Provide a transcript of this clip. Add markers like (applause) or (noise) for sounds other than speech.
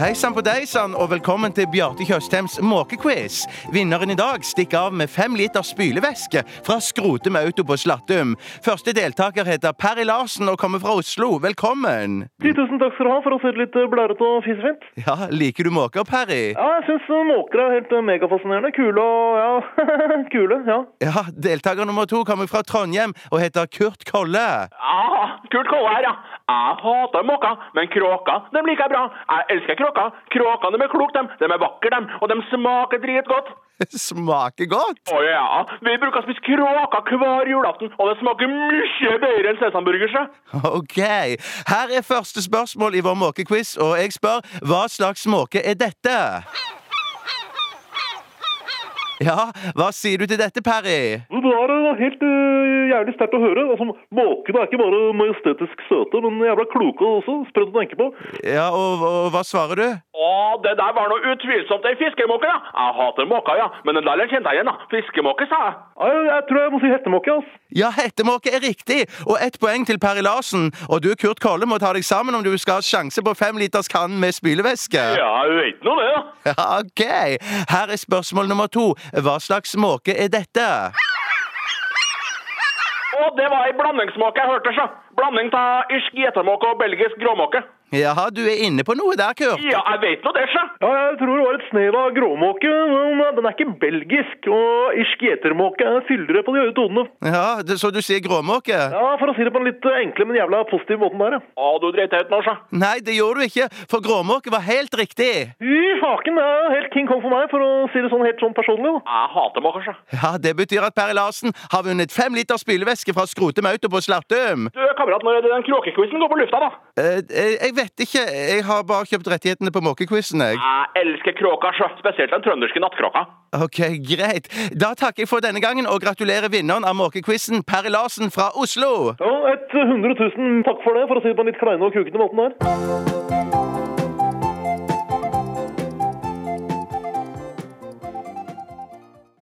Hei sann på deg sann, og velkommen til Bjarte Tjøstheims måkequiz. Vinneren i dag stikker av med fem liter spylevæske fra Skrotum Auto på Slattum. Første deltaker heter Perry Larsen og kommer fra Oslo. Velkommen. Tusen takk skal du ha for å se litt blærete og fisefint. Ja, liker du måker, Perry? Ja, jeg syns måker er helt eh, megafascinerende. Kule og ja. (laughs) Kule, ja. Ja, deltaker nummer to kommer fra Trondheim og heter Kurt Kolle. (laughs) Aha, Kurt Kolle her, ja. Jeg hater måker, men kråker dem liker jeg bra. Jeg elsker kråker. Kråkene de er kloke, dem. De er vakre, dem. Og de smaker dritgodt. Smaker godt. Å ja, vi bruker å spise kråker hver julaften, og det smaker mye bedre enn sesamburgers. ja. Ok. Her er første spørsmål i vår måkequiz, og jeg spør hva slags måke er dette? Ja, hva sier du til dette, Perry? Det var eh, helt eh, jævlig sterkt å høre. Altså, Måkene er ikke bare majestetisk søte, men jævla kloke også. Sprøtt å tenke på. Ja, og, og hva svarer du? Å, det der var noe utvilsomt ei fiskemåke, ja. Jeg hater måker, ja. Men den der kjente jeg igjen, da. Fiskemåke, sa jeg. Nei, Jeg, jeg tror jeg må si hettemåke, ass. Ja, hettemåke er riktig, og ett poeng til Perry Larsen. Og du, Kurt Kolle, må ta deg sammen om du skal ha sjanse på femliterskann med spylevæske. Ja, jeg vet nå det, da. Ja, (laughs) ok. Her er spørsmål nummer to. Hva slags måke er dette? Å, det var ei blandingsmåke jeg hørte, så. Blanding av irsk gjetermåke og belgisk gråmåke. Jaha, du er inne på noe der, Kurt. Ja, jeg vet nå det, så. Ja, jeg tror det var et snev av gråmåke, men eh, den er ikke belgisk. Og irsk gjetermåke er fyldere på de høye tonene. Ja, det- Så du sier gråmåke? Ja, for å si det på den litt eh, enkle, men jævla positive måten der, ja. Å, du dreit deg ut nå, så. Nei, det gjorde du ikke, for gråmåke var helt riktig. Fy faken, det er helt King Kong for meg, for å si det sånn helt sånn personlig, da. Jeg hater måker, så. Ja, Det betyr at Perry Larsen har vunnet fem liter spylevæske fra Skrotum Auto på Slartum. Du, kamerat, når er det den kråkekvissen går på lufta, da? Eh, eh, jeg vet ikke, jeg har bare kjøpt rettighetene på måkequizen, jeg. Jeg elsker kråker, så. Spesielt den trønderske nattkråka. Ok, greit. Da takker jeg for denne gangen, og gratulerer vinneren av måkequizen, Perry Larsen fra Oslo. Ja, et 100 000 takk for det, for å si det på den litt kleine og krukete måten der.